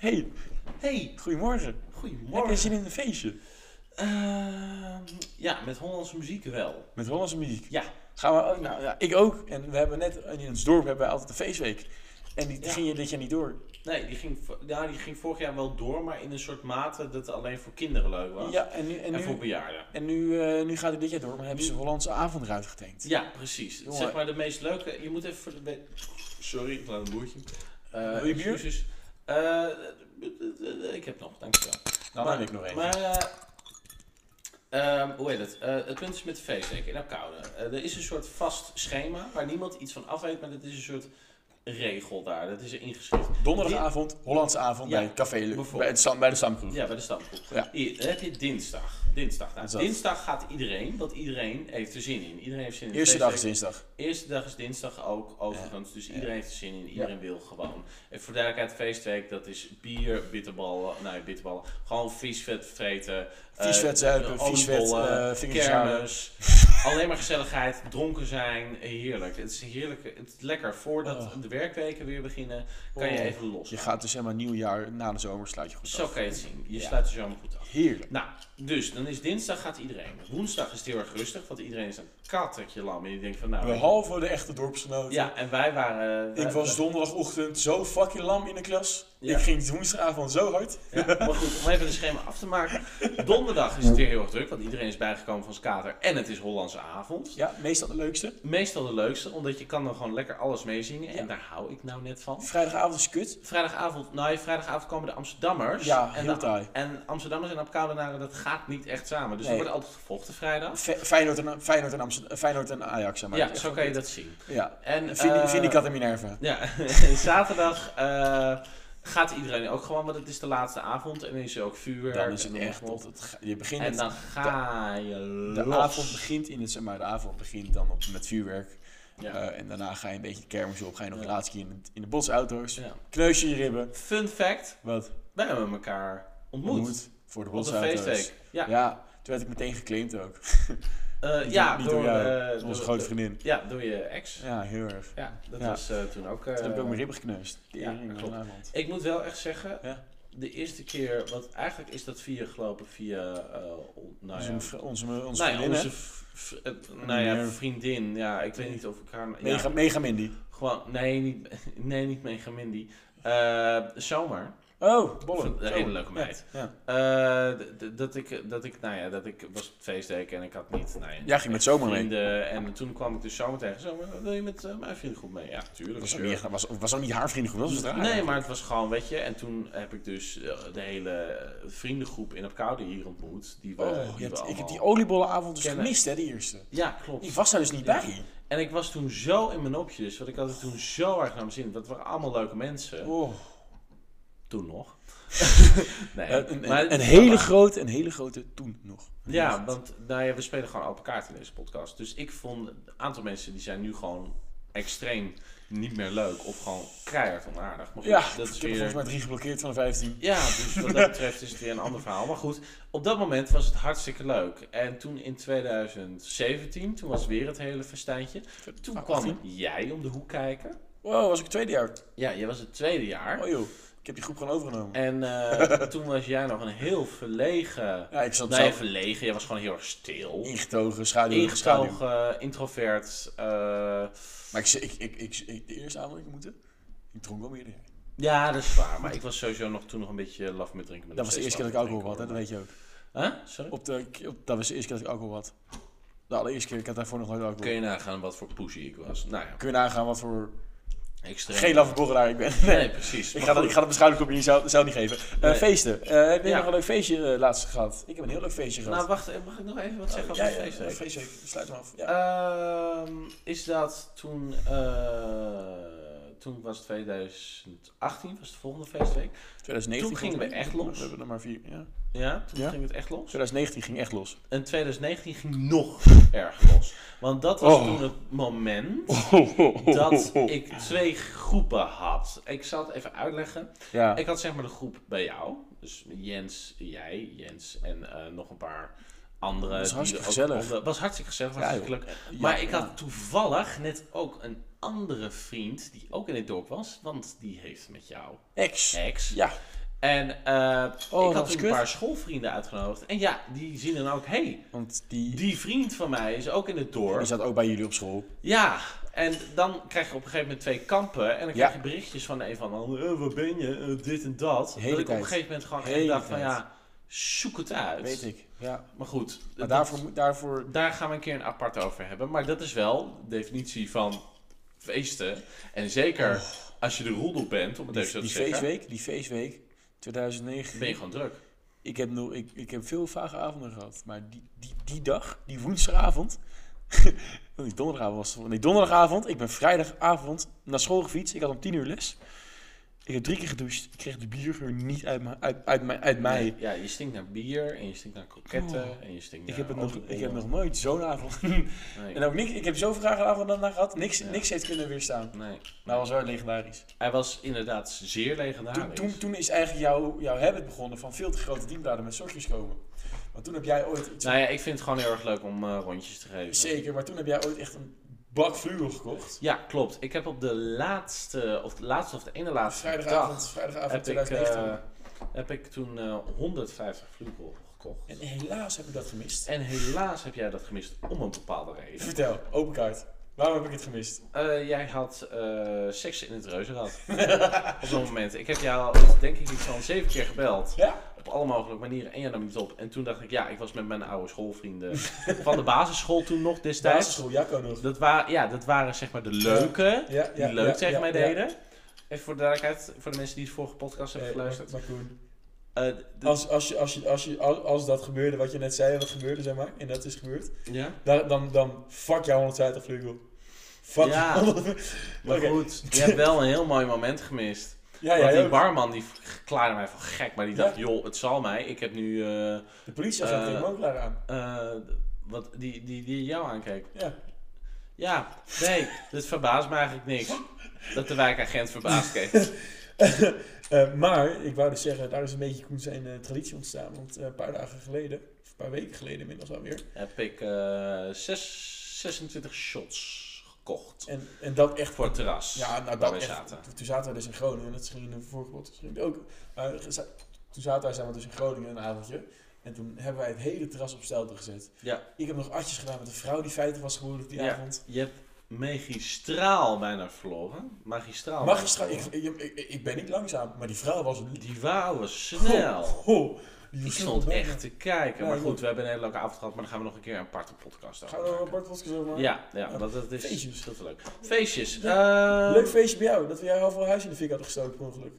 Hey, Hey, goedemorgen. Heb je goedemorgen. zin in een feestje? Ehm, ja, met Hollandse muziek wel. Met Hollandse muziek. Ja, Gaan we ook, nou ja, ik ook. En we hebben net, in ons dorp hebben we altijd een feestweek. En die Ja. ging je dit jaar niet door. nee, die ging, vo- ja, die ging vorig jaar wel door, maar in een soort mate dat het alleen voor kinderen leuk was. Ja, en nu, en en, voor nu, bejaarden. en nu, eh, nu gaat het dit jaar door, maar hebben ze Hollandse avond eruit getankt. Ja, precies. Jongen. Zeg maar de meest leuke. Je moet even voor de. be- Sorry, ik laat een boertje. Eh, Wil je bier? excuses. Eh, ik heb nog, dankjewel. Nou, Dan maar- neem ik nog één. Maar, eh, ehm, hoe heet het? Eh, het punt is met de feestweek in Apeldoorn. Eh er is een soort vast schema waar niemand iets van af weet, maar dat is een soort regel daar. Dat is er ingeschreven. Donderdagavond, Hollandse avond Ja, bij het Café Lu- bijvoorbeeld. bij, het Sam- bij de Samproef. Ja, bij de stamgroep. Ja. Hier, dan heb je dinsdag. Dinsdag, nou, Dat is dat. dinsdag gaat iedereen, want iedereen heeft er zin in. Iedereen heeft zin in de Eerste dag is feestweek. dinsdag. Eerste dag is dinsdag ook, overigens. Dus iedereen heeft er zin in, iedereen wil gewoon. En voor duidelijkheid, feestweek, dat is bier, bitterballen, nee, bitterballen. Gewoon viesvet vreten. eh, Viesvet zuipen, viesvet, eh, vingertjes halen. kermis. Alleen maar gezelligheid, dronken zijn, heerlijk. Het is heerlijk, het is lekker. Voordat Oh. de werkweken weer beginnen, kan je Oh. even los. Je gaat dus helemaal nieuwjaar na de zomer sluit je goed Zo af. kan je het zien. Je Ja. sluit er zo maar goed af. Heerlijk. Nou, dus dan is dinsdag gaat iedereen. Woensdag is het heel erg rustig, want iedereen is een kattertje lam. En die denkt van nou. weet je- Behalve de echte dorpsgenoten. Ja, en wij waren. wij- Ik was donderdagochtend zo fucking lam in de klas. Ja. Ik ging woensdagavond zo hard. Ja, maar goed, om even de schema af te maken. Donderdag is het weer heel erg druk, want iedereen is bijgekomen van Skater en het is Hollandse avond. Ja, meestal de leukste. Meestal de leukste, omdat je kan dan gewoon lekker alles meezingen en Ja. daar hou ik nou net van. Vrijdagavond is kut. Vrijdagavond, nou ja, vrijdagavond komen de Amsterdammers. Ja, en, heel de- taai. en Amsterdammers en Apeldoornaren, dat gaat niet echt samen. Dus Nee. er wordt altijd gevochten vrijdag. Fe- Feyenoord en, Feyenoord en, Amsterdam, eh, Feyenoord en Ajax, zeg maar. ja, Echt zo kan je dat zien. kut. Ja. En, Vind, eh, vind ik dat in Minerva. Ja, zaterdag eh, gaat iedereen ook gewoon, want het is de laatste avond en dan is er ook vuurwerk. Dan is en het noem echt maar op. tot het... ge- Je begint En met, dan ga je de los. avond begint in het... Zeg maar, de avond begint dan op, met vuurwerk. Ja. Eh, en daarna ga je een beetje de kermis op. Ga je nog Ja. de laatste keer in, de- in de botsauto's. Ja. Kneus je je ribben. Fun fact, Wat? wij hebben elkaar ontmoet. Ontmoet Voor de op de botsauto's. feestweek. Ja, Ja. toen werd ik meteen geclaimd ook. eh, Niet- ja niet door, jou, eh, door onze door- grote vriendin. Ja, door je ex. Ja, heel erg. Ja, dat Ja. was eh, toen ook... eh, Toen heb ik ook mijn ribben gekneusd. ja, Tering, klopt. vanavond. ik moet wel echt zeggen, Ja. de eerste keer, want eigenlijk is dat via gelopen via... eh, on- nou Onze, ja, vri- onze, onze, nou ja, vriendin, hè? onze v- v- het- nou ja, Meneer- vriendin. Ja, ik weet niet of ik haar... ja, Mega, mega Mindy. gewoon, nee, niet, nee, niet Mega Mindy. Eh zomaar. Oh, Bolle. Een hele leuke Ja, meid. Ja. Eh, d- d- dat, ik, dat ik, nou ja, dat ik was op feestdek en ik had niet, nou ja, Jij ging met zomer mee. vrienden. En toen kwam ik dus zomer tegen. Zomer, wil je met eh, mijn vriendengroep mee? Ja, Dat tuurlijk. was ook, sure. niet, echt- was, was ook niet haar vriendengroep, dat was het raar. nee, maar het was gewoon, weet je. En toen heb ik dus eh, de hele eh, vriendengroep in Apkoude hier ontmoet. Die we, Oh, die je we hebt, ik heb allemaal- die oliebollenavond dus kennen. gemist, hè, de eerste. Ja, klopt. Ik was daar dus niet Ja. bij. En ik was toen zo in mijn nopje dus. Want ik had het toen zo erg naar mijn zin. Dat waren allemaal leuke mensen. Oh. Toen nog. nee, Eh, een, maar- een, een hele grote, een hele grote toen nog. Ja, want nou ja, we spelen gewoon open kaart in deze podcast. Dus ik vond een aantal mensen die zijn nu gewoon extreem niet meer leuk of gewoon keihard onaardig. Maar goed, Ja, dat is ik heb er volgens weer... mij drie geblokkeerd van de 15. Ja, dus wat dat betreft is het weer een ander verhaal. Maar goed, op dat moment was het hartstikke leuk. En toen in 2017, toen was weer het hele festijntje. Toen kwam 18. jij om de hoek kijken. Wow, Oh, was ik het tweede jaar. Ja, jij was het tweede Oh jaar. joh, ik heb die groep gewoon overgenomen. En eh, toen was jij nog een heel verlegen... Ja, ik zat Nee, zelf verlegen. Jij was gewoon heel erg stil. ingetogen, schaduw, schaduw. ingetogen, introvert. eh, Maar ik, ik, ik, ik, ik- de eerste avond dat ik moeten, ik dronk wel meer dan jij. ja, dat is waar. Maar ik was sowieso nog toen nog een beetje laf met drinken. maar Dat was de nog eerste keer dat ik steeds alcohol had, hè, dat laf met weet je ook. drinken, hoor. Huh? Sorry? Op de, op, dat was de eerste keer dat ik alcohol had. De allereerste keer, ik had daarvoor nog nooit alcohol. Kun je nagaan wat voor poesie ik was? Nou ja, Kun je nagaan wat voor extreem. geen laffe borrelaar ik ben. Nee, Nee. precies. Ik Maar ga, dat, goed. ik ga dat beschouwelijk zou, zou niet geven. Eh, Nee. Feesten. Eh, heb je Ja. nog een leuk feestje eh, laatst gehad? Ik heb een heel leuk feestje gehad. Nou, wacht. eh, Mag ik nog even wat zeggen Oh, over ja, de ja, feestweek? feestweek. Sluit hem af. Ja. Ehm, is dat toen... eh, toen was het 2018, was de volgende feestweek. 2019 Eh, toen gingen we volgens mij. echt los. We hebben er maar vier. Ja. Ja, toen Ja. ging het echt los. 2019 ging echt los. En 2019 ging nog erg los. Want dat was Oh. toen het moment dat ik twee groepen had. Ik zal het even uitleggen. Ja. Ik had zeg maar de groep bij jou. Dus Jens, jij, Jens en eh, nog een paar anderen. Dat was die hartstikke er ook gezellig. onder- was hartstikke gezellig, was Ja, hartstikke leuk. maar ik had toevallig net ook een andere vriend die ook in het dorp was. Want die heeft met jou Ex. ex. Ja. Oh, En eh, dat ik had was toen een kut. paar schoolvrienden uitgenodigd. En ja, die zien dan ook, hé, hey, Want die, die, die vriend van mij is ook in het dorp. zat ook bij jullie op school. Ja, en dan krijg je op een gegeven moment twee kampen. En dan Ja. krijg je berichtjes van de een van de ander. eh, waar ben je? Eh, dit en dat. De hele dat ik op tijd. een gegeven moment gewoon De echt hele dacht van tijd. ja, zoek het uit. Weet ik. Ja. Maar goed, Maar dat- daarvoor, moet- daarvoor daar gaan we een keer een apart over hebben. Maar dat is wel de definitie van feesten. En zeker als je de roedel bent, om het even zo Oh. die, te die zeggen, feestweek, die feestweek 2009. ben je gewoon druk. Ik heb, nog, ik, ik heb veel vage avonden gehad. Maar die, die, die dag, die woensdagavond. die donderdagavond was het. Nee, donderdagavond. Ik ben vrijdagavond naar school gefietst. Ik had om tien uur les. Ik heb drie keer gedoucht. Ik kreeg de biergeur niet uit, mijn- uit, uit, mijn- uit mij. Nee, Ja, je stinkt naar bier en je stinkt naar kroketten Oh. en je stinkt Ik, naar heb het nog, ik heb oliebollen. nog nooit zo'n avond. Nee, en ook niks, ik heb zoveel graag avond daarna gehad. Niks, Ja. niks heeft kunnen weerstaan. nee. Nou, was wel legendarisch. Hij was inderdaad zeer legendarisch. Toen, toen, toen is eigenlijk jouw, jouw habit begonnen van veel te grote dienbladen met sokjes komen. Want toen heb jij ooit iets. Nou ja, ik vind het gewoon heel erg leuk om eh, rondjes te geven. Zeker, maar toen heb jij ooit echt een bak fluweel gekocht. Ja, klopt. Ik heb op de laatste, of de laatste of de ene laatste Vrijdagavond, dag, vrijdagavond heb ik, 2019. eh, heb ik toen eh, 150 fluweel gekocht. en helaas heb ik dat gemist. En helaas heb jij dat gemist om een bepaalde reden. Vertel, open kaart. Waarom heb ik het gemist? Eh, jij had eh, seks in het reuzenrad. op dat moment. Ik heb jou, al, denk ik, iets van zeven keer gebeld. Ja? Op alle mogelijke manieren. En jij nam niet op. En toen dacht ik, ja, ik was met mijn oude schoolvrienden van de basisschool toen nog destijds. Basisschool, Jacco nog. Dat, waren, ja, dat waren zeg maar de leuke. Ja, die leuk tegen mij ja. deden. Even voor de duidelijkheid, voor de mensen die het vorige podcast hebben Eh, geluisterd. maar Koen, Eh, de- Als, als, je, als, je, als, je, als, als dat gebeurde wat je net zei, wat gebeurde zeg maar, en dat is gebeurd, ja, dan, dan, dan fuck jou 150 vleugel. Fuck Ja. jou 150. maar Oké. goed, je hebt wel een heel mooi moment gemist. Ja, ja, Want ja, die barman die klaarde mij van gek, maar die Ja. dacht, joh, het zal mij. Ik heb nu, eh, De politieagent Eh, tegen me ook daar aan. eh, wat, die, die, die jou aankeek. Ja. Ja, nee, dit verbaast me eigenlijk niks. Dat de wijkagent verbaasd keek. Eh, maar ik wou dus zeggen, daar is een beetje Koen zijn eh, traditie ontstaan. Want eh, een paar dagen geleden, of een paar weken geleden inmiddels alweer. heb ik eh, zes, 26 shots gekocht. En, en dat echt Voor het terras. Ja, nou waar dat wij echt. zaten. Toen zaten we dus in Groningen. En dat ging in de vorige podcast ging het ook. Maar za- toen zaten wij samen dus in Groningen een avondje. En toen hebben wij het hele terras op stelte gezet. Ja. Ik heb nog atjes gedaan met een vrouw die feiten was geworden die Ja. avond. Je hebt magistraal bijna verloren. Magistraal. Magistraal, ik, bijna verloren. ik, ik, ik ben niet langzaam, maar die vrouw was... Die wauwen snel. Oh, die Ik was stond zo- echt te kijken. Ja, maar joh. goed, we hebben een hele leuke avond gehad. Maar dan gaan we nog een keer een aparte podcast over Gaan we een maken. podcast over maken? Ja, ja, want dat is Feestjes. veel te leuk. Feestjes. eh, Leuk feestje bij jou, dat we jouw halve huis in de fik hadden gestoken per ongeluk.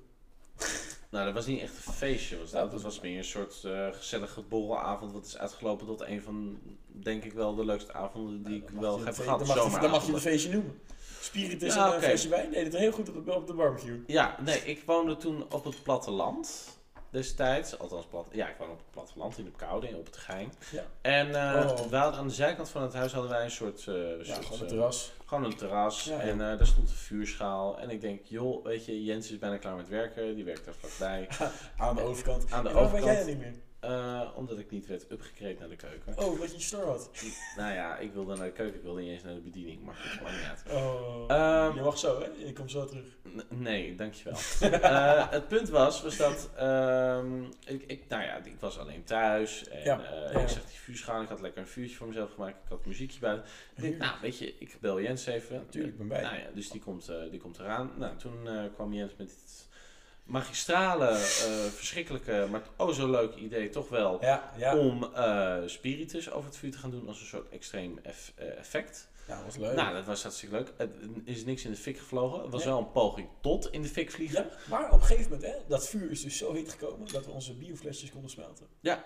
Nou, dat was niet echt een feestje. Was dat. dat was meer een soort eh, gezellige borrelavond. Wat is uitgelopen tot een van, denk ik wel, de leukste avonden die ik Dan mag wel je heb het- gehad. Dan mag, je, dan mag je Zomeravonden. het een feestje noemen. Spiritus Ja, en een oké. feestje wijn deden het heel goed op de, op de barbecue. Ja, nee, ik woonde toen op het platteland destijds. Althans, plat, ja, ik woonde op het platteland in de Koude, op het Gein. Ja. En eh, Oh. we hadden aan de zijkant van het huis hadden wij een soort... eh, Ja, soort, gewoon eh, het terras. gewoon een terras. Ja, ja. En eh, daar stond een vuurschaal. En ik denk, joh, weet je, Jens is bijna klaar met werken. Die werkt daar vlakbij. Aan de overkant. Aan de En waarom weet jij overkant. dat niet meer? Eh, omdat ik niet werd upgekreed naar de keuken. Oh, wat je een snor had. Nou ja, ik wilde naar de keuken. Ik wilde niet eens naar de bediening. Maar goed, maakt niet uit. Oh. Ehm. je mag zo, hè? Ik kom zo terug. N- Nee, dankjewel. Eh het punt was, was dat ehm, ik, ik, nou ja, ik was alleen thuis en Ja, eh, ja. ik zag die vuurschaal, ik had lekker een vuurtje voor mezelf gemaakt, ik had muziekje buiten. Ik denk, nou weet je, ik bel Jens even. Natuurlijk, ik ben bij. Nou ja, dus die komt, eh, die komt eraan. Nou, toen eh, kwam Jens met dit magistrale, eh, verschrikkelijke, maar oh zo leuk idee toch wel, Ja, ja. om eh, spiritus over het vuur te gaan doen als een soort extreem eff- eh, effect. Nou, was leuk. Nou, dat was hartstikke leuk. Het is niks in de fik gevlogen. Het was Nee. wel een poging tot in de fik vliegen. ja, maar op een gegeven moment, hè, dat vuur is dus zo heet gekomen dat we onze bioflesjes konden smelten. Ja,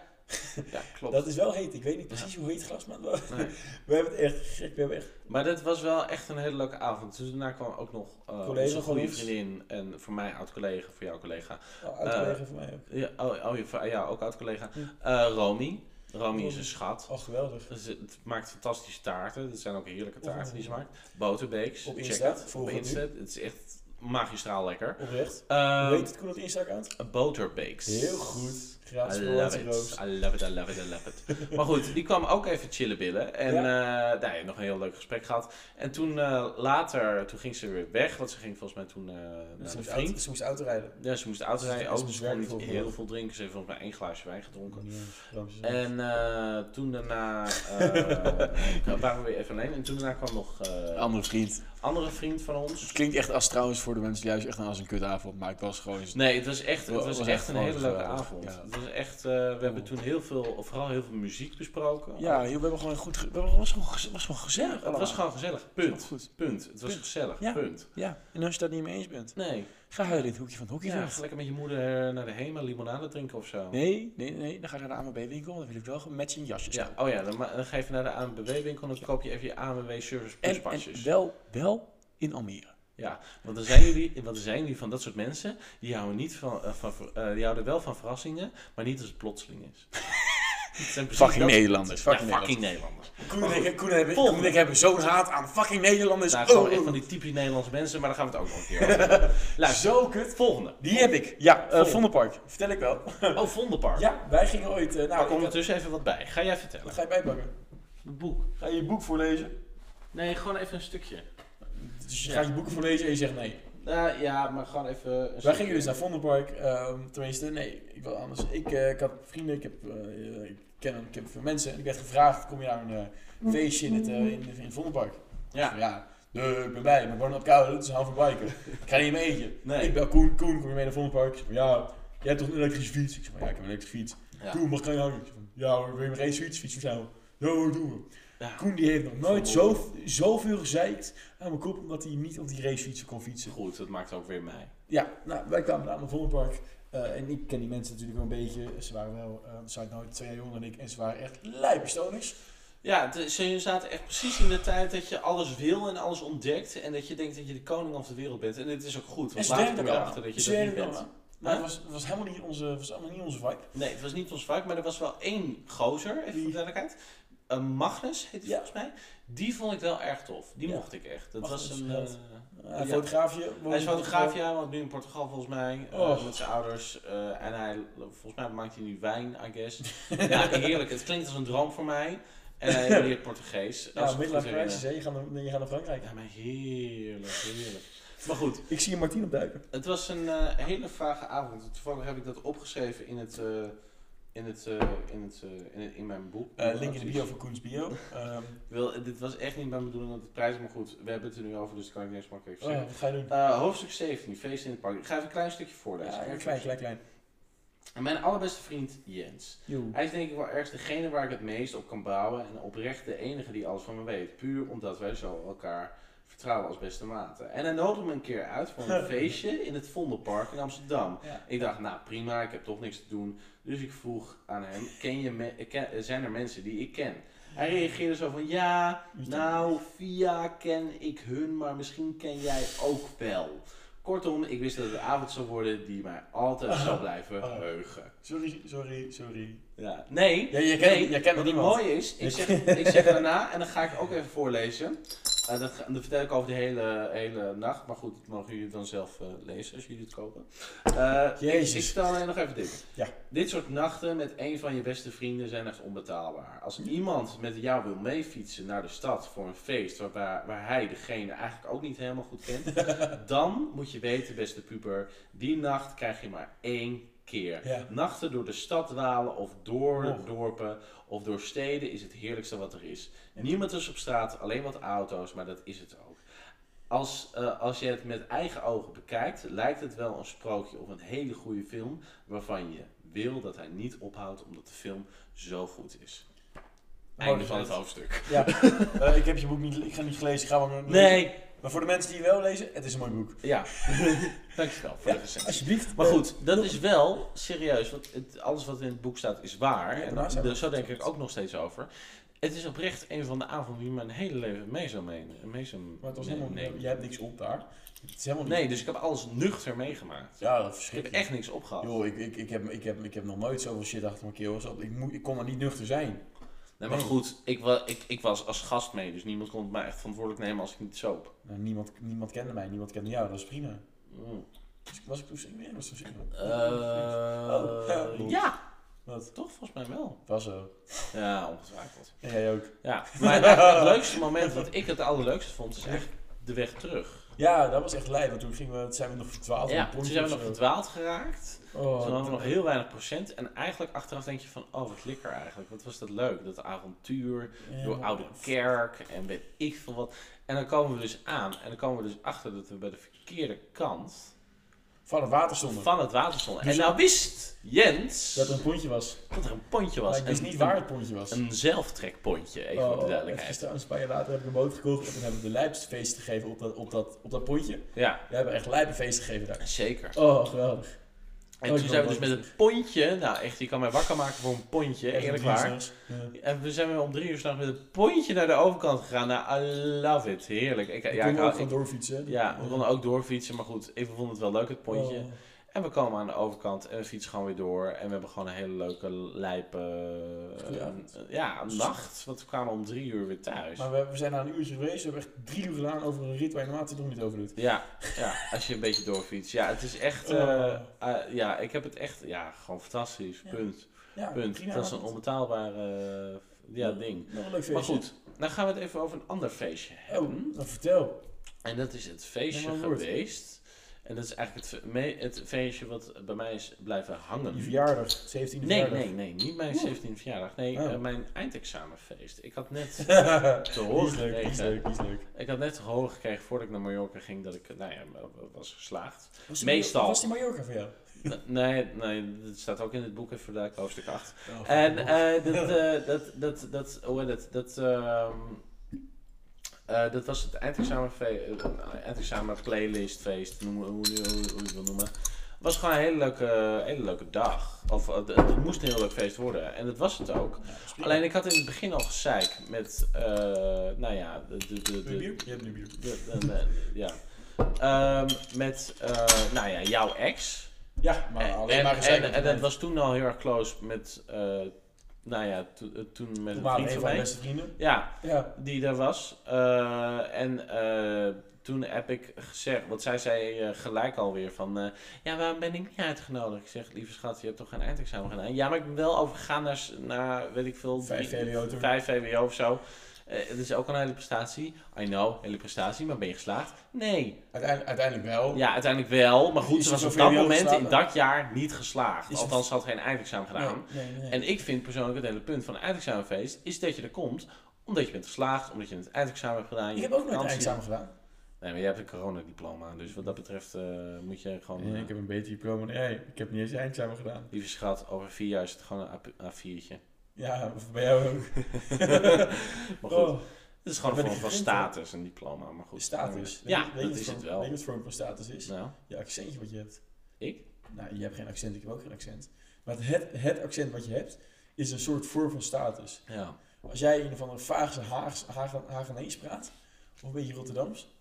klopt. Dat is wel heet. Ik weet niet precies hoe heet glas, maar we, Nee. we hebben het echt gek. We hebben echt... Maar dat was wel echt een hele leuke avond. Dus daarna kwam ook nog eh Collega onze van goede ons. vriendin en voor mij oud-collega, voor jou collega. Oh, Eh. uitgelegd voor mij ook. Ja, oh, oh, je- voor- ja ook oud-collega. Hm. Eh, Romy. Romy is Romy. een schat. Oh, geweldig. Ze het maakt fantastische taarten. Dat zijn ook heerlijke taarten Oh. die ze maakt. Boterbeeks. Op check Insta, het. Op volg het nu. Insta. Het is echt magistraal lekker. Oprecht. Eh, Hoe heet het Koen dat Insta-account? Boterbeeks. Ehm, Heel goed. Gratis I love it. roos. I love it, I love it, I love it. maar goed, die kwam ook even chillen billen. En eh nou ja, nog een heel leuk gesprek gehad. En toen eh, later, toen ging ze weer weg. Want ze ging volgens mij toen eh naar Ze een moest vriend. auto- Ze moest auto rijden. Ja, ze moest auto Ze- rijden. ze Ook, moest ze kon niet werken volgens heel mij. veel drinken. Ze heeft volgens mij één glaasje wijn gedronken. En En eh, toen daarna eh, waren we weer even alleen. En toen daarna kwam nog een eh, andere vriend. andere vriend van ons. Het klinkt echt als trouwens voor de mensen juist echt als een kutavond, maar het was gewoon... Nee, het was echt, het Wa- was was echt echt een hele geweldig, leuke geweldig, avond. ja. Het was echt, eh, we hebben toen heel veel, vooral heel veel muziek besproken. Ja, joh, we hebben gewoon goed... ge- We hebben, was, gewoon, gez- was gewoon Ja, gezellig het was allemaal. gewoon gezellig. Punt. goed. Punt. Het was Punt. gezellig. Ja. Punt. Ja, en als je dat niet mee eens bent, Nee. ga huilen in het hoekje van het hoekje Ja, ga lekker met je moeder eh, naar de Hema limonade drinken of zo. Nee, nee, nee, dan ga je naar de AMB winkel, dan wil ik wel met zijn jasjes. Ja, oh ja, dan, ma- dan ga je even naar de ANWB winkel en dan koop je even je ANWB Service Plus En, pasjes. en wel, wel in Almere. Ja, want er zijn jullie, want er zijn jullie van dat soort mensen die houden, niet van, eh, van, eh, die houden wel van verrassingen, maar niet als het plotseling is. Het zijn precies Fucking dat- Nederlanders, Ja, fucking fucking Nederlanders. Koen en ik, Koen en ik, Volgende. Koen en ik hebben zo'n haat aan fucking Nederlanders. Nou, Oh, gewoon echt oh, van die typisch Nederlandse mensen, maar daar gaan we het ook nog een keer over hebben. Luister, Zo kut. volgende. Die heb ik. Ja, eh Volgende. Vondelpark. Vertel ik wel. Oh, Vondelpark. Ja, wij gingen ooit... eh, Daar nou, komt ik er dus even wat bij. Ga jij vertellen. Wat ga je bijpakken? Een boek. Ga je je boek voorlezen? Nee, gewoon even een stukje. Dus je Ja. gaat je boek voorlezen en je zegt nee. Eh, ja, maar gewoon even een Wij gingen dus naar Vondelpark. ehm, tenminste, nee, ik wil anders. Ik, eh, ik had vrienden, ik, heb, eh, ik, ken, ik heb veel mensen. En ik werd gevraagd, kom je naar een eh, feestje in het eh, in, in Vondelpark? Ja. Dus ja. Nee, ik ben bij, maar ik woon op koude, dus hou van biken. Ik ga niet in mijn eentje. dus- Nee. Ik bel Koen, Koen, kom je mee naar Vondelpark? Ik zeg van, ja, jij hebt toch een elektrische fiets? Ik zeg van, ja, ik heb een elektrische fiets. Ja. Koen, mag ik aan je hangen? Ik zeg van, ja hoor, wil je maar één fiets? Fiets voor jou. Ja hoor, doen we. Ja. Koen die heeft nog nooit zo, zoveel gezeikt aan mijn kop, omdat hij niet op die racefietsen kon fietsen. Goed, dat maakt ook weer mij. Ja, nou, wij kwamen aan het Vondelpark. eh, en ik ken die mensen natuurlijk wel een beetje. Ze waren wel, eh ze waren nooit twee jaar jonger dan ik. En ze waren echt lijpstoners. Ja, het is- ze zaten echt precies in de tijd dat je alles wil en alles ontdekt. En dat je denkt dat je de koning van de wereld bent. En dit is ook goed, En want ze later deden kom je het erachter allemaal. dat je Ze dat niet deden het bent. allemaal. Maar het Huh? was, het was helemaal niet onze, was allemaal niet onze vibe. Nee, het was niet ons vak, maar er was wel één gozer, even voor de Wie? duidelijkheid. Eh, Magnus heet hij Ja. volgens mij. Die vond ik wel erg tof. Die Ja. mocht ik echt. Dat Magnus was een... is een held. eh, Eh, Hij Ja. fotograafje. hij is fotograaf, ja, want nu in Portugal volgens mij. eh, Oh. Met zijn ouders. eh, en hij, volgens mij maakt hij nu wijn, I guess. ja, heerlijk. Het klinkt als een droom voor mij. En hij leert Portugees. als ik het Ja, goed Nou, middellange herinner. prijsjes, hè. Je gaat naar- je gaat naar Frankrijk. Ja, maar heerlijk, heerlijk. Maar goed, Ik zie Martien opduiken. het was een eh, hele vage avond. Toevallig heb ik dat opgeschreven in het... eh, in, het, eh, in, het, eh, in, het- in mijn boek. Eh link in de bio van Koens Bio. Ehm, Wel, dit was echt niet mijn bedoeling dat het prijs, maar goed, we hebben het er nu over, dus dat kan ik niks makkelijk oh, zeggen. wat ga je doen? Eh, hoofdstuk 17, feest in het park. Ik ga even een klein stukje voorlezen. Ja, klein, klein, klein. En Mijn allerbeste vriend Jens. Hij is denk ik wel ergens degene waar ik het meest op kan bouwen en oprecht de enige die alles van me weet. Puur omdat wij zo elkaar vertrouwen als beste maten. En hij nodigde me een keer uit voor een feestje in het Vondelpark in Amsterdam. Ja. Ik dacht, nou prima, ik heb toch niks te doen. Dus ik vroeg aan hem, ken je me- ken- eh, zijn er mensen die ik ken? Hij reageerde zo van, ja, nou, via ken ik hun, maar misschien ken jij ook wel. Kortom, ik wist dat het een avond zou worden die mij altijd zou blijven Oh. heugen. Sorry, sorry, sorry. Ja. Nee, Ja, je kent, Nee, je kent nog wat het niemand. mooie is, ik Dus- zeg, ik zeg daarna, en dan ga ik ook even voorlezen. Eh, dat, ga- dat vertel ik over de hele, hele nacht, maar goed, dat mogen jullie dan zelf eh, lezen als jullie het kopen. Eh, ik- Jezus. Ik, vertel alleen nog even dit. Ja. Dit soort nachten met een van je beste vrienden zijn echt onbetaalbaar. Als iemand met jou wil meefietsen naar de stad voor een feest waar, waar, waar hij degene eigenlijk ook niet helemaal goed kent, dan moet je weten, beste puber, die nacht krijg je maar één keer. Ja. Nachten door de stad dwalen of door Och. dorpen of door steden is het heerlijkste wat er is. Niemand is op straat, alleen wat auto's, maar dat is het ook. Als, eh, als je het met eigen ogen bekijkt, lijkt het wel een sprookje of een hele goede film waarvan je wil dat hij niet ophoudt omdat de film zo goed is. Einde van het hoofdstuk. Ja, Eh, ik heb je boek niet, ik ga niet gelezen, ik ga wel Nee, Maar voor de mensen die wel lezen, het is een mooi boek. ja. Dankjewel voor de recensie. Alsjeblieft. Eh, Maar goed, dat is wel serieus, want het, alles wat in het boek staat is waar. Ja, en daar zijn we daar- zo het denk over. ik ook nog steeds over. Het is oprecht een van de avonden die mijn hele leven mee zou meenemen. Mee zou Maar het was nee, helemaal, nee. jij hebt niks op daar. Het is helemaal niet... Nee, dus ik heb alles nuchter meegemaakt. Ja, dat Ik heb verschrikkelijk. echt niks opgehaald. Joh, ik, ik, ik, heb, ik, heb, ik heb nog nooit zoveel shit achter mijn keel. gehad. Ik, moet, ik kon er niet nuchter zijn. Nee, maar Nee. goed, ik, wa ik, ik was als gast mee, dus niemand kon het mij echt verantwoordelijk nemen als ik niet zoop. Nou, niemand, niemand kende mij, niemand kende jou, dat is prima. Mm. Dus ik- was ik toen single? Ja, ik was toen single. Eh, Oh. ja, Wat? Toch volgens mij wel. Was zo. Ja, ongetwijfeld. En jij ook. Ja, maar eigenlijk het leukste moment wat ik het allerleukste vond, is echt de weg terug. Ja, dat was echt lijp. Want toen gingen we, toen zijn we nog verdwaald. Ja, op een toen pontje zijn we of nog zo. verdwaald geraakt. Oh, Toen hadden we dat- nog heel weinig procent. En eigenlijk achteraf denk je van, oh wat lekker eigenlijk. Wat was dat leuk, dat avontuur. ja. door Oude Kerk en weet ik veel wat. En dan komen we dus aan en dan komen we dus achter dat we bij de verkeerde kant Van het water stonden. van het water stonden. Dus- en nou wist Jens Dat dat er een pontje was. er een pontje Maar was. ik wist Een- niet waar het pontje was. Oh, Een zelftrekpontje, even voor de duidelijkheid. Gisteren een paar jaar later heb ik een boot gekocht en toen hebben we de lijpsfeest gegeven op dat, op, dat, op dat pontje. Ja, We hebben echt lijpenfeest gegeven daar. zeker. Oh, geweldig. En Oh, toen ik zijn we wil dus met wel- het pontje, nou echt, je kan mij wakker maken voor een pontje, Echt eerlijk een waar. dienstnachts. Ja. En we zijn weer om drie uur s'nachts met het pontje naar de overkant gegaan. Nou, I love it. Heerlijk. Ik, Ik ja, kon ik, ook hou- gewoon ik- doorfietsen. ja, we konden ook doorfietsen, maar goed, ik vond het wel leuk, het pontje. Oh. En we komen aan de overkant en we fietsen gewoon weer door. En we hebben gewoon een hele leuke lijpe... eh, Ja. eh, ja, nacht. Want we kwamen om drie uur weer thuis. Maar we, we zijn na een uurtje geweest, we hebben echt drie uur gedaan over een rit waar je normaal toch niet over doet. Ja, ja, als je een beetje doorfietst. Ja, het is echt... eh, Oh. eh, ja, ik heb het echt... Ja, gewoon fantastisch. Ja. Punt. Ja, Punt. prima Dat is een avond. onbetaalbaar eh, ja, ding. Nog een leuk feestje. Maar goed, Hm? dan gaan we het even over een ander feestje hebben. Oh, dan vertel. En dat is het feestje Neem maar een woord. geweest. En dat is eigenlijk het, fe- me- het feestje wat bij mij is blijven hangen. Je verjaardag, 17 Nou. Nee, verjaardag. nee, nee, niet mijn 17e verjaardag. Nee, Oh. eh, mijn eindexamenfeest. Ik had net nee. te Die horen is leuk, die is gekregen. leuk, die is leuk. Ik had net te horen gekregen voordat ik naar Mallorca ging dat ik, nou ja, was geslaagd. Was die- Meestal. Was die Mallorca voor jou? Oh, N- nee, nee, dat staat ook in het boek even daar, hoofdstuk 8. Oh, En God. eh, dat, eh, dat, dat, dat, hoe heet het? Dat, ehm, eh, dat was het eindexamenfe- eh, eindexamen playlistfeest, noem, hoe, hoe, hoe, hoe je het wil noemen. Het was gewoon een hele leuke, hele leuke dag. Of eh, het, het moest een heel leuk feest worden. En dat was het ook. Alleen ik had in het begin al gezeik met, eh, nou ja, de, de, de, Wil je de, bier? Je hebt nu bier. de- de- de- ja. Ehm, met, eh, nou ja, jouw ex. Ja, maar En- alleen en, maar gezeik. en, en dat was toen al heel erg close met, eh, nou ja, to- eh, toen met We een waren vriend een van van mijn mij. beste vrienden. Ja, Ja. die er was. Eh, en eh, toen heb ik gezegd, want zij zei eh, gelijk alweer van, eh, ja, waarom ben ik niet uitgenodigd? Ik zeg, lieve schat, je hebt toch geen eindexamen gedaan? Ja, maar ik ben wel overgegaan naar, s- naar weet ik veel, Vijf drie- VWO toen. vijf VWO of zo. Eh, Het is ook een hele prestatie. I know, hele prestatie, maar ben je geslaagd? Nee. Uiteindelijk, uiteindelijk wel. Ja, uiteindelijk wel. Maar goed, Is ze het was op zoveel dat jaar moment in geslaagd? dat jaar niet geslaagd. Is het- Althans, ze had geen eindexamen gedaan. Nee, nee, nee. En ik vind persoonlijk het hele punt van een eindexamenfeest is dat je er komt omdat je bent geslaagd, omdat je het eindexamen hebt gedaan. ik je heb ook nooit een vakantie- eindexamen gedaan. Nee, maar jij hebt een coronadiploma, dus wat dat betreft eh, moet je gewoon... eh, heb een beter diploma. Nee, ik heb niet eens een eindexamen gedaan. Lieve schat, over vier jaar is het gewoon een A- A4'tje. Ja, of bij jou ook. Maar goed, Oh, het is gewoon een ben vorm ik van gegund, hè? status, een diploma, maar goed. status. Ja, Weet je dat wat is voor- het Weet je wel. wat voor een status is? Nou, Je accentje wat je hebt. ik? Nou, je hebt geen accent, ik heb ook geen accent. Maar het, het accent wat je hebt, is een soort vorm van status. Ja. Als jij in een van de Vaagse Haags, Haag, Hagenees praat, of een beetje Rotterdams,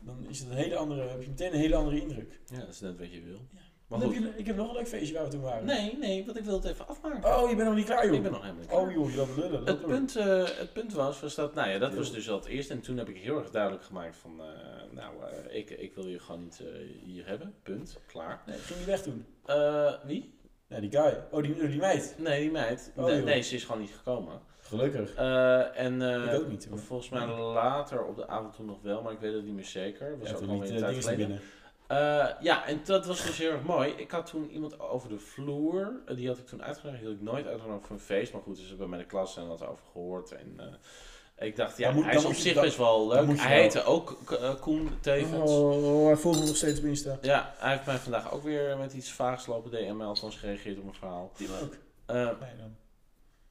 dan is het een hele andere, heb je meteen een hele andere indruk. ja, dat is net wat je wil. Ja. Maar Dan goed. heb je- ik heb nog een leuk feestje waar we toen waren. Nee, nee, want ik wil het even afmaken. Oh, je bent nog niet klaar, joh. ik ben nog helemaal niet klaar. Oh, joh, je loopt lullen. Het loop door. punt, eh, het punt was, was dat, nou ja, dat was Ja. dus al het eerste. En toen heb ik heel erg duidelijk gemaakt van, eh, nou, eh, ik, ik wil je gewoon niet eh, hier hebben. Punt. Klaar. Nee, ging je weg toen? Eh, wie? Nee, die guy. Oh, die, die meid. Nee, die meid. Oh, nee, joh. nee, ze is gewoon niet gekomen. Gelukkig. Eh, en eh, Ik ook niet, hoor. volgens mij later op de avond toen nog wel, maar ik weet het niet meer zeker. Was Ja, ook toen alweer liet een eh, tijd dingen naar geleden. binnen. Eh, ja, en dat was dus heel erg mooi. Ik had toen iemand over de vloer. eh, Die had ik toen uitgenodigd. Die had ik nooit uitgenodigd voor een feest. Maar goed, ze hebben bij de klas en had over gehoord. En eh, ik dacht, ja, Dan moet- hij dan is op moet je- zich dan- best wel dan leuk. moet je Hij wel. heette ook K- eh, Koen Tevens. Oh, hij volgt me nog steeds op Insta. Ja, hij heeft mij vandaag ook weer met iets vaags lopen DM. Althans gereageerd op mijn verhaal. Tim ook. Eh, Nee, dan.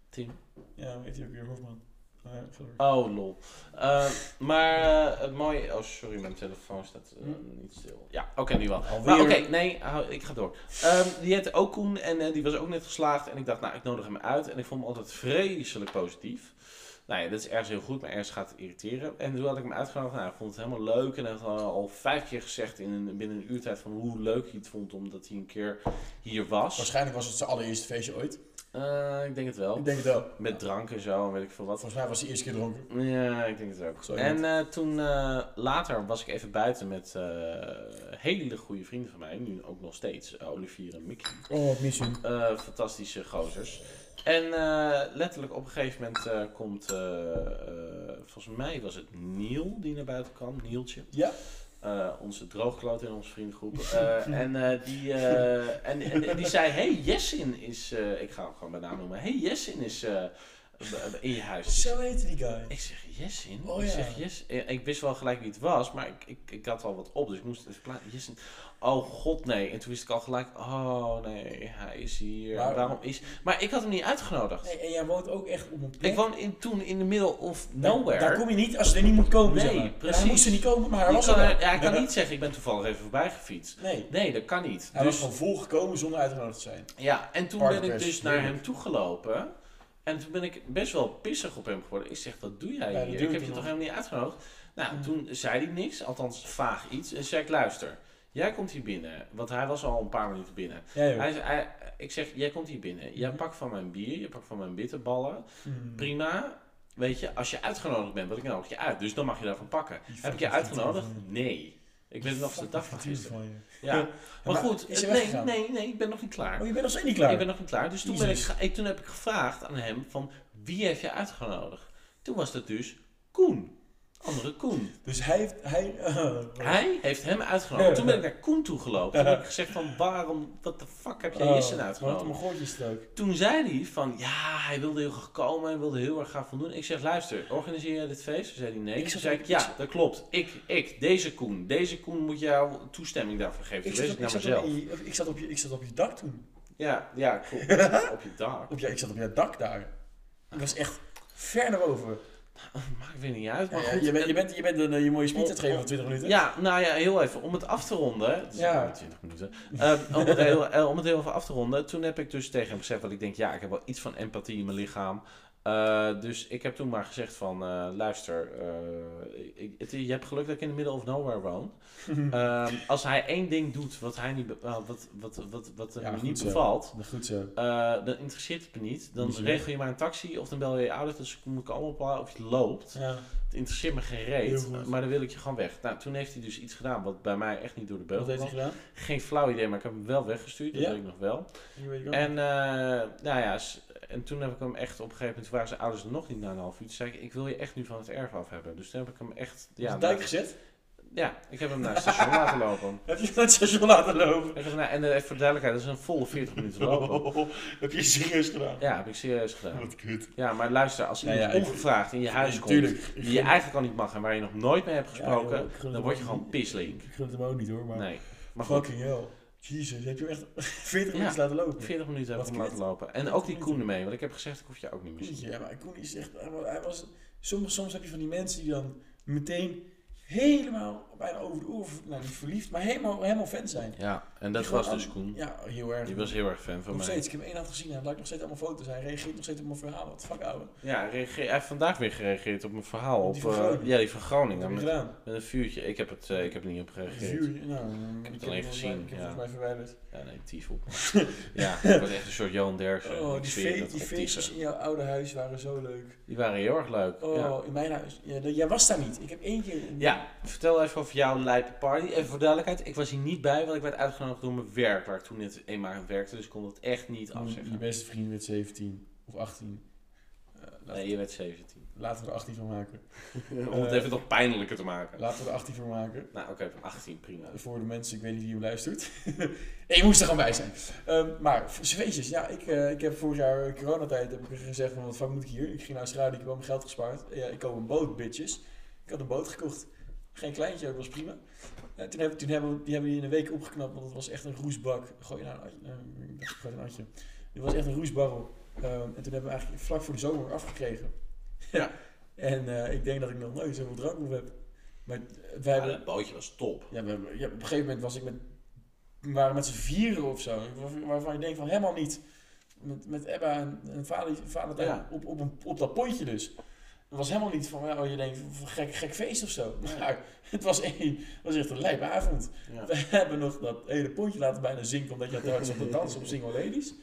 Tim. Ja, hoe heet hij ook weer? Hofman. Oh, ja, ga door. Oh, lol. Eh, maar eh, het mooie... Oh, sorry, mijn telefoon staat eh, niet stil. Ja, oké, nu wel. Alweer. Maar oké, nee, hou- ik ga door. Ehm, die heette ook Koen en eh, die was ook net geslaagd. En ik dacht, nou, ik nodig hem uit. En ik vond hem altijd vreselijk positief. Nou ja, dat is ergens heel goed, maar ergens gaat het irriteren. En toen had ik hem uitgenodigd. Nou, ik vond het helemaal leuk. En hij had al- al vijf keer gezegd in een, binnen een uurtijd van hoe leuk hij het vond. Omdat hij een keer hier was. Waarschijnlijk was het zijn allereerste feestje ooit. Eh, ik denk het wel. Ik denk het wel. Met drank en zo en weet ik veel wat. Volgens mij was hij eerste keer dronken. Ja, ik denk het ook. Zo en eh, toen eh, later was ik even buiten met eh, hele goede vrienden van mij, nu ook nog steeds, eh, Olivier en Mickey. Oh, missie. Eh, fantastische gozers. En eh, letterlijk op een gegeven moment eh, komt, eh, eh, volgens mij was het Niel die naar buiten kwam, Nieltje. Ja. Eh, onze droogkloot in onze vriendengroep. Eh, en, eh, die, eh, en, en- en die zei: Hey, Jessin is. eh, ik ga hem gewoon bij naam noemen. Hey, Jessin is eh, b- b- in je huis. Zo heette die guy. Ik zeg Jessin. Oh, Ik ja. zeg Jes. eh, Ik wist wel gelijk wie het was, maar ik, ik, ik had al wat op, dus ik moest het even plaatsen. Jessin. Oh god, nee. En toen wist ik al gelijk: Oh nee, hij is hier. Maar- Waarom is. Maar ik had hem niet uitgenodigd. Nee, en jij woont ook echt op een plek. Ik woon in, toen in de middle of Daar- nowhere. Daar kom je niet als je er niet moet komen. Nee, zeg maar. En precies. Hij moest er niet komen, maar hij Je was kan er wel. er- ja, ik kan niet zeggen: Ik ben toevallig even voorbij gefietst. Nee, Nee, dat kan niet. hij was Dus, gewoon volgekomen zonder uitgenodigd te zijn. ja, en toen Party ben ik crash, dus naar heerlijk. hem toegelopen. En toen ben ik best wel pissig op hem geworden. Ik zeg, wat doe jij Ja, dat hier? Ik duurt heb je nog. toch helemaal niet uitgenodigd? Nou, Hmm. toen zei hij niks, althans vaag iets. En zei ik, luister, jij komt hier binnen. Want hij was al een paar minuten binnen. Ja, Mhm. joh. Hij, zei- hij- ik zeg, jij komt hier binnen. Jij pakt van mijn bier, je pakt van mijn bitterballen. Hmm. Prima. Weet je, als je uitgenodigd bent, want ik nodig je uit. Dus dan mag je daarvan pakken. Die Heb ik je fucking uitgenodigd? vent van Nee. Ik ben nog de dag van Natuurlijk gisteren. van je. Ja. Maar, Maar goed, is hij nee, weggegaan? nee, nee, ik ben nog niet klaar. Oh, je bent nog steeds niet klaar. Ik ben nog niet klaar. Dus toen, ben ik, Jezus. ge- ik- toen heb ik gevraagd aan hem van wie heb je uitgenodigd? Toen was dat dus Koen. Andere Koen. Dus hij heeft... Hij, Oh. Hij heeft hem uitgenodigd. Toen ben ik naar Koen toe gelopen. Toen heb ik gezegd van waarom, wat de fuck heb jij Oh, Jessen Wat uitgenodigd? een goortjestrook. Toen zei hij van ja, hij wilde heel graag komen. Hij wilde heel erg gaan voldoen. Ik zeg luister, organiseer jij dit feest? Toen zei hij nee. Ik Ik zat- zei ik, ja, dat klopt. Ik, ik, deze Koen. Deze Koen moet jou toestemming daarvoor geven. Ik zat, Toen wees op, ik ik, naar zat op, mezelf. je- ik, zat op je, ik zat op je dak toen. Ja, ja, klopt. Op je dak. Op je, ik zat op je dak daar. Ik was echt ver naar boven. Maakt weer niet uit, maar Ja, goed. je, bent, je, bent, je bent een, eh, je mooie speech aan het geven Oh, van 20 minuten. Ja, nou ja, heel even. Om het af te ronden. Het is Ja. nog maar 20 minuten. Ehm, om, het heel, eh, om het heel even af te ronden. Toen heb ik dus tegen hem gezegd, want ik denk, ja, ik heb wel iets van empathie in mijn lichaam. Eh, dus ik heb toen maar gezegd van, eh, luister, eh, ik- het- je hebt geluk dat ik in de middle of nowhere woon. Ehm, als hij één ding doet wat, hij niet, be- eh, wat, wat, wat, wat hem Ja, goed niet zo. bevalt, Nou, Goed zo. eh, dan interesseert het me niet. Dan Moet je regel je maar een taxi of dan bel je je ouders. Dus moet ik allemaal ophalen of je loopt. Ja. Het interesseert me geen Heel reet, goed. maar dan wil ik je gewoon weg. Nou, toen heeft hij dus iets gedaan wat bij mij echt niet door de beugel Wat heeft hij kwam. gedaan? Geen flauw idee, maar ik heb hem wel weggestuurd, dat Ja? weet ik nog wel. Ik weet het ook. En, eh, nou ja, s- en toen heb ik hem echt op een gegeven moment, toen waren zijn ouders er nog niet na een half uur, toen zei ik, ik wil je echt nu van het erf af hebben. Dus toen heb ik hem echt, Op ja, de dijk naar- gezet? ja ik heb hem naar het station laten lopen. Heb je hem naar het station laten lopen? Ik heb hem naar- en eh, even voor de duidelijkheid, dat is een volle 40 minuten lopen. heb je serieus gedaan? Ja, heb ik serieus gedaan. Wat kut. Ja, maar luister, als Nou iemand ja, ik- ongevraagd in je huis Nee, komt, Tuurlijk. die je eigenlijk al niet mag en waar je nog nooit mee hebt gesproken, Ja, joh, ik gun dan hem word je ook gewoon niet. pisslink. Ik gun het hem ook niet hoor, maar... Nee. Maar goed, Fucking hell. Jezus, heb je hem echt 40 Ja. minuten laten lopen? 40 minuten heb Wat ik hem laten kut. lopen. En ook die Koen ermee, want ik heb gezegd, ik hoef je ook niet meer te zien. Ja, maar Koen is echt... hij wa- Hij was, soms, soms heb je van die mensen die dan meteen helemaal bijna over de oren... Nou, niet verliefd, maar helemaal, helemaal fan zijn. Ja, en Die dat gewoon was dus aan- Koen. Ja, heel erg. Die was heel erg fan nog van mij. steeds. Ik heb hem één avond gezien en hij lijkt nog steeds allemaal foto's. Hij reageert nog steeds op mijn verhalen. Wat fuck, ouwe. Ja, reageer- hij heeft vandaag weer gereageerd op mijn verhaal. Op, Die van eh, Groningen. ja, die van Wat Groningen. heb je Met, gedaan? met een vuurtje. Ik heb, het, eh, ik heb er niet op gereageerd. Vuur, nou, ik heb het alleen volgens gezien, mij- Ik heb ja. volgens mij verwijderd. Ja, nee, tief op. ja, het wordt echt een soort Johan Derksen. Oh, Ik die, zweer je fe- dat die op feestjes tissen. in jouw oude huis waren zo leuk. Die waren heel erg leuk. Oh, Ja. in mijn huis. Ja, dat- jij was daar niet. Ik heb één keer... Ja, vertel even over jouw lijpe party. Even voor duidelijkheid, ik was hier niet bij, want ik werd uitgenodigd door mijn werk, waar ik toen net eenmaal aan werkte, dus ik kon het echt niet Je afzeggen. beste vriend werd 17 of 18. Eh, laat- Nee, je werd 17. Laten we er 18 van maken. Om het Eh, even nog pijnlijker te maken. Laten we er 18 van maken. Nou, oké, van 18, prima. Voor de mensen, ik weet niet wie hem luistert. En je moest er gewoon bij zijn. Ehm, maar voor zweetjes, ja, ik, eh, ik heb vorig jaar eh, coronatijd heb ik gezegd van wat fuck moet ik hier? Ik ging naar Australië, ik heb al mijn geld gespaard. Ja, ik koop een boot, bitches. Ik had een boot gekocht. Geen kleintje, ook was prima. Eh, toen hebben, toen hebben, we- die hebben we in een week opgeknapt, want het was echt een roesbak. Gooi nou een atje. eh, ik dacht, gooi een atje. Dit was echt een roesbarrel. Ehm, en toen hebben we eigenlijk vlak voor de zomer afgekregen. Ja. En eh, ik denk dat ik nog nooit zoveel drank op heb. Maar eh, wij Ja, hebben dat bootje was top. ja, we, hebben- ja, op een gegeven moment was ik met, we waren met z'n vieren of zo. waar- Waarvan je denkt van helemaal niet. Met, met Ebba en, en vader, vader Ja. op, op, een, op dat pontje dus. Het was helemaal niet van, oh je denkt, van gek, gek feest of zo. Maar het was, één, het was echt een lijpe avond. Ja. We hebben nog dat hele pontje laten bijna zinken, omdat je had hard zat te dansen op Single Ladies.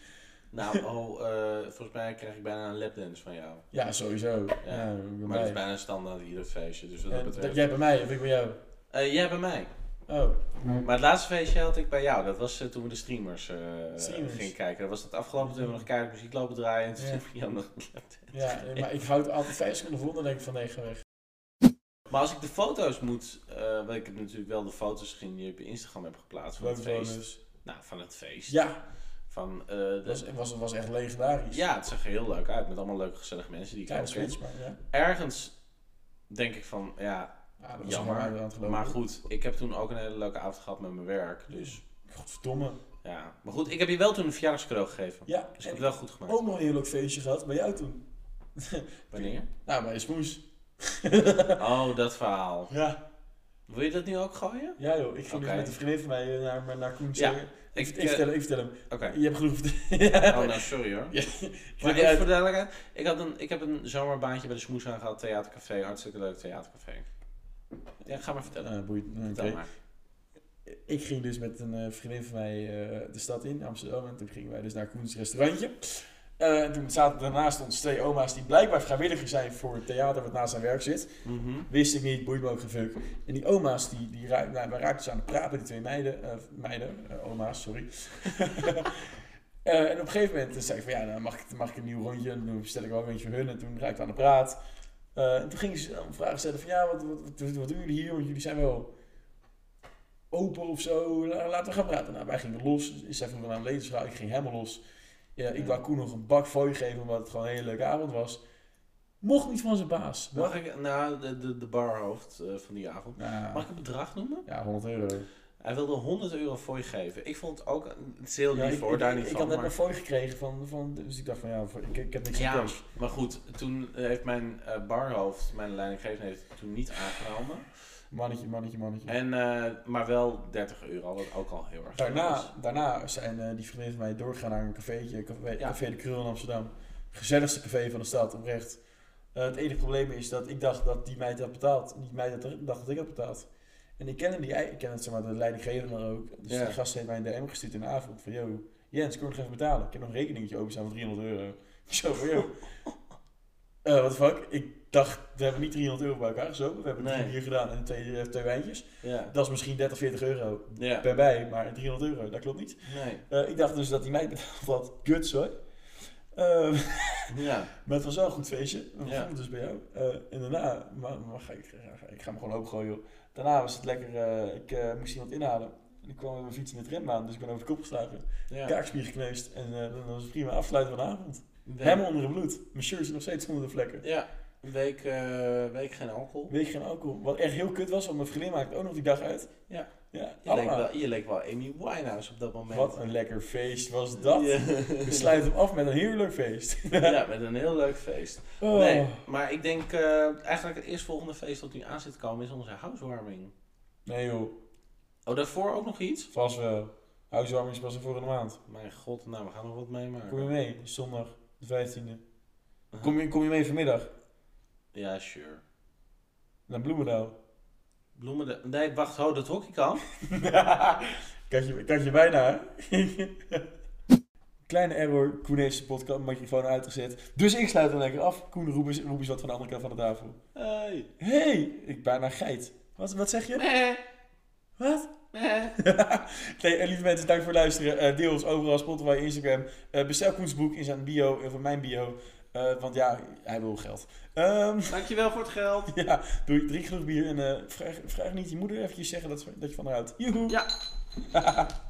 Nou, oh, eh, volgens mij krijg ik bijna een lapdance van jou. Ja, sowieso. Ja, Ja, bij Maar dat mij. is bijna standaard ieder feestje, dus wat Ja, dat dat- betreft... jij bij mij of ik bij jou. Eh, jij bij mij. Oh, Maar het laatste feestje had ik bij jou. Dat was eh, toen we de streamers, eh, Streamers. gingen kijken. Dat was het afgelopen toen we nog keihard muziek lopen draaien. En toen Ja. heb ik jou nog een lapdance. ja, maar ik houd altijd vijf seconden vol, dan denk ik van nee, ga weg. Maar als ik de foto's moet, eh, want ik heb natuurlijk wel de foto's gezien die je op Instagram hebt geplaatst van Leuke het feest. bonus. Nou, van het feest. Ja, Van, eh, het de- was, was, was echt legendarisch. ja, het zag er heel leuk uit met allemaal leuke gezellige mensen die ik Kleine ook ken. switch, maar ja. Ergens denk ik van, ja, Ja, dat was Jammer, een aan het gelopen. maar goed, ik heb toen ook een hele leuke avond gehad met mijn werk. Dus Godverdomme. ja, maar goed, ik heb je wel toen een verjaardagscadeau gegeven. Ja, Oh. Dus ik en heb het wel goed gemaakt. ook nog een heerlijk feestje gehad bij jou toen. Wanneer? Nou, bij Smoes. Oh, dat verhaal. Ja, Wil je dat nu ook gooien? ja joh. Ik ging Oké. dus met een vriendin van mij eh, naar, naar Koens. Ja, eh, Ik, ik, ik, eh, vertel, hem, ik vertel hem. Oké. Je hebt genoeg verteld. Oh, nou, sorry hoor. Ja. Maar Ja, even voor de duidelijkheid, ik, had een, ik heb een zomerbaantje bij de Smoes aan gehad, theatercafé, hartstikke leuk theatercafé. Ja, ga maar vertellen. Nou, boeit. Nou, Vertel oké. maar. Ik ging dus met een eh, vriendin van mij eh, de stad in, Amsterdam. En toen gingen wij dus naar Koens restaurantje. Eh, en toen zaten daarnaast ons twee oma's die blijkbaar vrijwilliger zijn voor het theater wat naast zijn werk zit. Mhm. Wist ik niet, boeit me ook geen fuck. En die oma's, die, die raak, nou, we raakten dus aan het praten, die twee meiden, eh, meiden eh, oma's, sorry. Eh, en op een gegeven moment eh, zei ik van ja, dan mag ik, mag ik een nieuw rondje, en toen bestel ik wel een rondje voor hun. En toen raakten we aan de praat. Eh, en toen gingen ze dan vragen stellen van ja, wat, wat, wat, wat doen jullie hier? Want jullie zijn wel open of zo, La- laten we gaan praten. Nou, wij gingen los, zij vroeg wel aan een levensvraag, ik ging helemaal los. Ja, ik wou Koen nog een bak fooi geven, omdat het gewoon een hele leuke avond was. Mocht niet van zijn baas. Mag ik, nou, de, de, de barhoofd eh, van die avond. Nou, Mag ik het bedrag noemen? Ja, 100 euro. Hij wilde 100 euro voor je geven. Ik vond het ook, het is heel Ja, lief ik, hoor, ik, daar ik, niet ik van. had net maar- een fooi gekregen van, van, dus ik dacht van ja, voor- ik, ik heb niks Ja, gekozen. maar goed, toen heeft mijn eh, barhoofd, mijn leidinggevende, heeft het toen niet aangenomen. Mannetje, mannetje, mannetje. En, eh, maar wel 30 euro, wat ook al heel erg veel is. daarna, daarna zijn eh, die vrienden van mij doorgegaan naar een cafeetje, café, Ja. Café de Krul in Amsterdam. Gezelligste café van de stad, oprecht. Eh, het enige probleem is dat ik dacht dat die meid had betaald. Die meid had, dacht dat ik had betaald. En ik kende die, ei- ik ken het zeg maar, de leidinggevende ook. Dus Ja. die gast heeft mij een DM gestuurd in de avond van, yo, Jens, kom nog even betalen. Ik heb nog een rekeningetje openstaan van 300 euro. Ik Zo van, yo. Eh what the fuck? Ik dacht, we hebben niet 300 euro bij elkaar gezopen. We hebben Nee. drie bier gedaan en twee, eh, twee wijntjes. Ja, Dat is misschien 30, 40 euro ja. per bij, maar 300 euro, dat klopt niet. nee, Eh, ik dacht dus dat hij mij betaald had. Guts hoor. Ehm, ja. maar het was wel een goed feestje. We Ja. begonnen dus bij jou. Eh, en daarna, maar, maar ga ik, ga- ga- ik ga me gewoon opengooien joh. Daarna was het lekker, eh, ik eh, moest iemand inhalen. En ik kwam met mijn fiets in de tram dus ik ben over de kop geslagen. ja. Kaakspier gekneusd en eh dat was het prima afsluiten van de avond. Nee. Helemaal onder het bloed. Mijn shirt is nog steeds onder de vlekken. Ja, een week, eh, week geen alcohol. Weet je geen alcohol. Wat echt heel kut was, want mijn vriendin maakte ook nog die dag uit. Ja. Ja, Je leek, allemaal. wel, je leek wel Amy Winehouse op dat moment. Wat een lekker feest was dat. Ja. We sluiten hem af met een heerlijk feest. ja, met een heel leuk feest. Oh. Nee, maar ik denk eh, eigenlijk het eerstvolgende feest dat nu aan zit te komen is onze housewarming. Nee joh, Oh, daarvoor ook nog iets? vast wel. Huiswarming is pas in vorige maand. Mijn god, nou, we gaan nog wat Kom je meemaken. mee? Zondag, de 15e. Kom je, kom je mee vanmiddag? Ja, sure. Naar Bloemendaal. Bloemen Nee, wacht, ho, dat hockeykamp? kan, je, kan je bijna, hè? Kleine error, Koen heeft zijn podcast microfoon uitgezet. Dus ik sluit hem lekker af. Koen, roep eens, roep eens wat van de andere kant van de tafel. Hey. hey, ik bijna geit. Wat, wat zeg je? Nee, Wat? nee. Nee, en lieve mensen, dank voor het luisteren. Eh, deel ons overal, Spotify, Instagram. Eh, bestel Koens boek in zijn bio, of in mijn bio. Eh, want ja, hij wil geld. Ehm, Dankjewel voor het geld. ja, doe drie genoeg bier en eh, vraag, vraag niet je moeder eventjes zeggen dat, ze- dat je van haar houdt. Joehoe! Ja.